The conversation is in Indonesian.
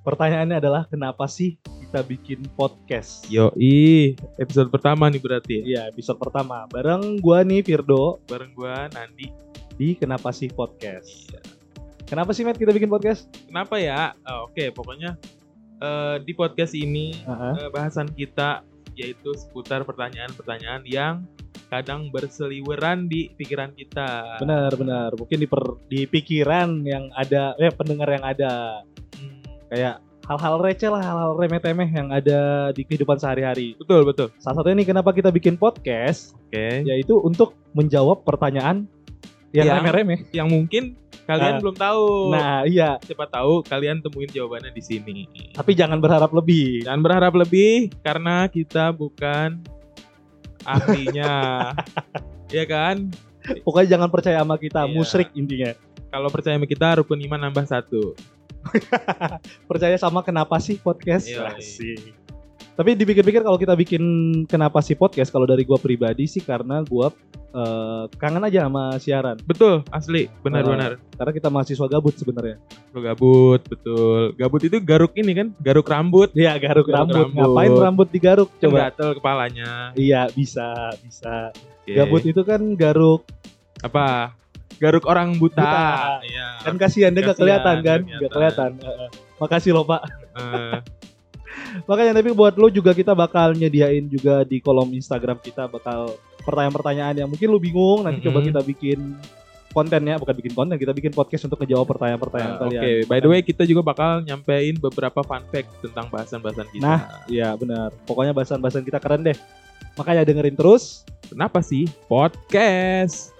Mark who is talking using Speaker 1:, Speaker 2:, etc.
Speaker 1: Pertanyaannya adalah kenapa sih kita bikin podcast?
Speaker 2: Yoi, episode pertama nih berarti ya.
Speaker 1: Iya, episode pertama bareng gua nih Firdo
Speaker 2: Bareng gua Nandi.
Speaker 1: di Kenapa sih Podcast.
Speaker 2: Iya.
Speaker 1: Kenapa sih Matt kita bikin podcast?
Speaker 2: Kenapa ya? Ah, Oke, pokoknya eh, di podcast ini
Speaker 1: Heeh.
Speaker 2: eh, bahasan kita yaitu seputar pertanyaan-pertanyaan yang kadang berseliweran di pikiran kita.
Speaker 1: Benar, benar. Mungkin di, per- di pikiran yang ada, eh pendengar yang ada
Speaker 2: Hmm,
Speaker 1: kayak hal-hal receh lah, hal-hal remeh-temeh yang ada di kehidupan sehari-hari.
Speaker 2: betul, betul.
Speaker 1: Salah satunya nih kenapa kita bikin podcast,
Speaker 2: Oke. Iya.
Speaker 1: yaitu untuk menjawab pertanyaan yang
Speaker 2: Yang-
Speaker 1: remeh-remeh.
Speaker 2: Yang mungkin kalian
Speaker 1: Ah.
Speaker 2: belum tahu.
Speaker 1: Nah, iya.
Speaker 2: siapa tahu kalian temuin jawabannya di sini.
Speaker 1: Tapi jangan berharap lebih.
Speaker 2: Jangan berharap lebih karena kita bukan ahlinya. ya kan?
Speaker 1: Pokoknya jangan percaya sama kita,
Speaker 2: Iya.
Speaker 1: musrik intinya.
Speaker 2: Kalau percaya sama kita rukun iman nambah satu.
Speaker 1: Percaya sama kenapa sih podcast?
Speaker 2: Iya,
Speaker 1: Asik. Tapi dipikir-pikir kalau kita bikin kenapa sih podcast kalau dari gua pribadi sih karena gua eh, kangen aja sama siaran.
Speaker 2: Betul, asli, benar-benar.
Speaker 1: Karena kita mahasiswa gabut sebenarnya.
Speaker 2: Lu gabut, betul. Gabut itu garuk ini kan, garuk rambut.
Speaker 1: Iya, garuk,
Speaker 2: Garuk
Speaker 1: rambut. Kan
Speaker 2: rambut.
Speaker 1: Ngapain rambut digaruk coba?
Speaker 2: Coba gatel kepalanya.
Speaker 1: Iya, bisa, bisa.
Speaker 2: Oke.
Speaker 1: Gabut itu kan garuk.
Speaker 2: apa? Garuk orang buta.
Speaker 1: Buta.
Speaker 2: Iya.
Speaker 1: Kan kasihan dia nggak
Speaker 2: Kasihan,
Speaker 1: kelihatan kan?
Speaker 2: nggak
Speaker 1: Nggak kelihatan. Eh, eh. Makasih loh, Pak.
Speaker 2: Eh,
Speaker 1: Makanya tapi buat lu juga kita bakal nyediain juga di kolom Instagram kita bakal pertanyaan-pertanyaan yang mungkin lu bingung nanti coba
Speaker 2: Mhm.
Speaker 1: kita bikin kontennya bukan bikin konten kita bikin podcast untuk ngejawab pertanyaan-pertanyaan
Speaker 2: eh, Ah, Oke,
Speaker 1: kalian.
Speaker 2: by the way kita juga bakal nyampein beberapa fun fact tentang bahasan-bahasan kita.
Speaker 1: Nah. Iya benar. Pokoknya bahasan-bahasan kita keren deh. Makanya dengerin terus.
Speaker 2: Kenapa sih podcast?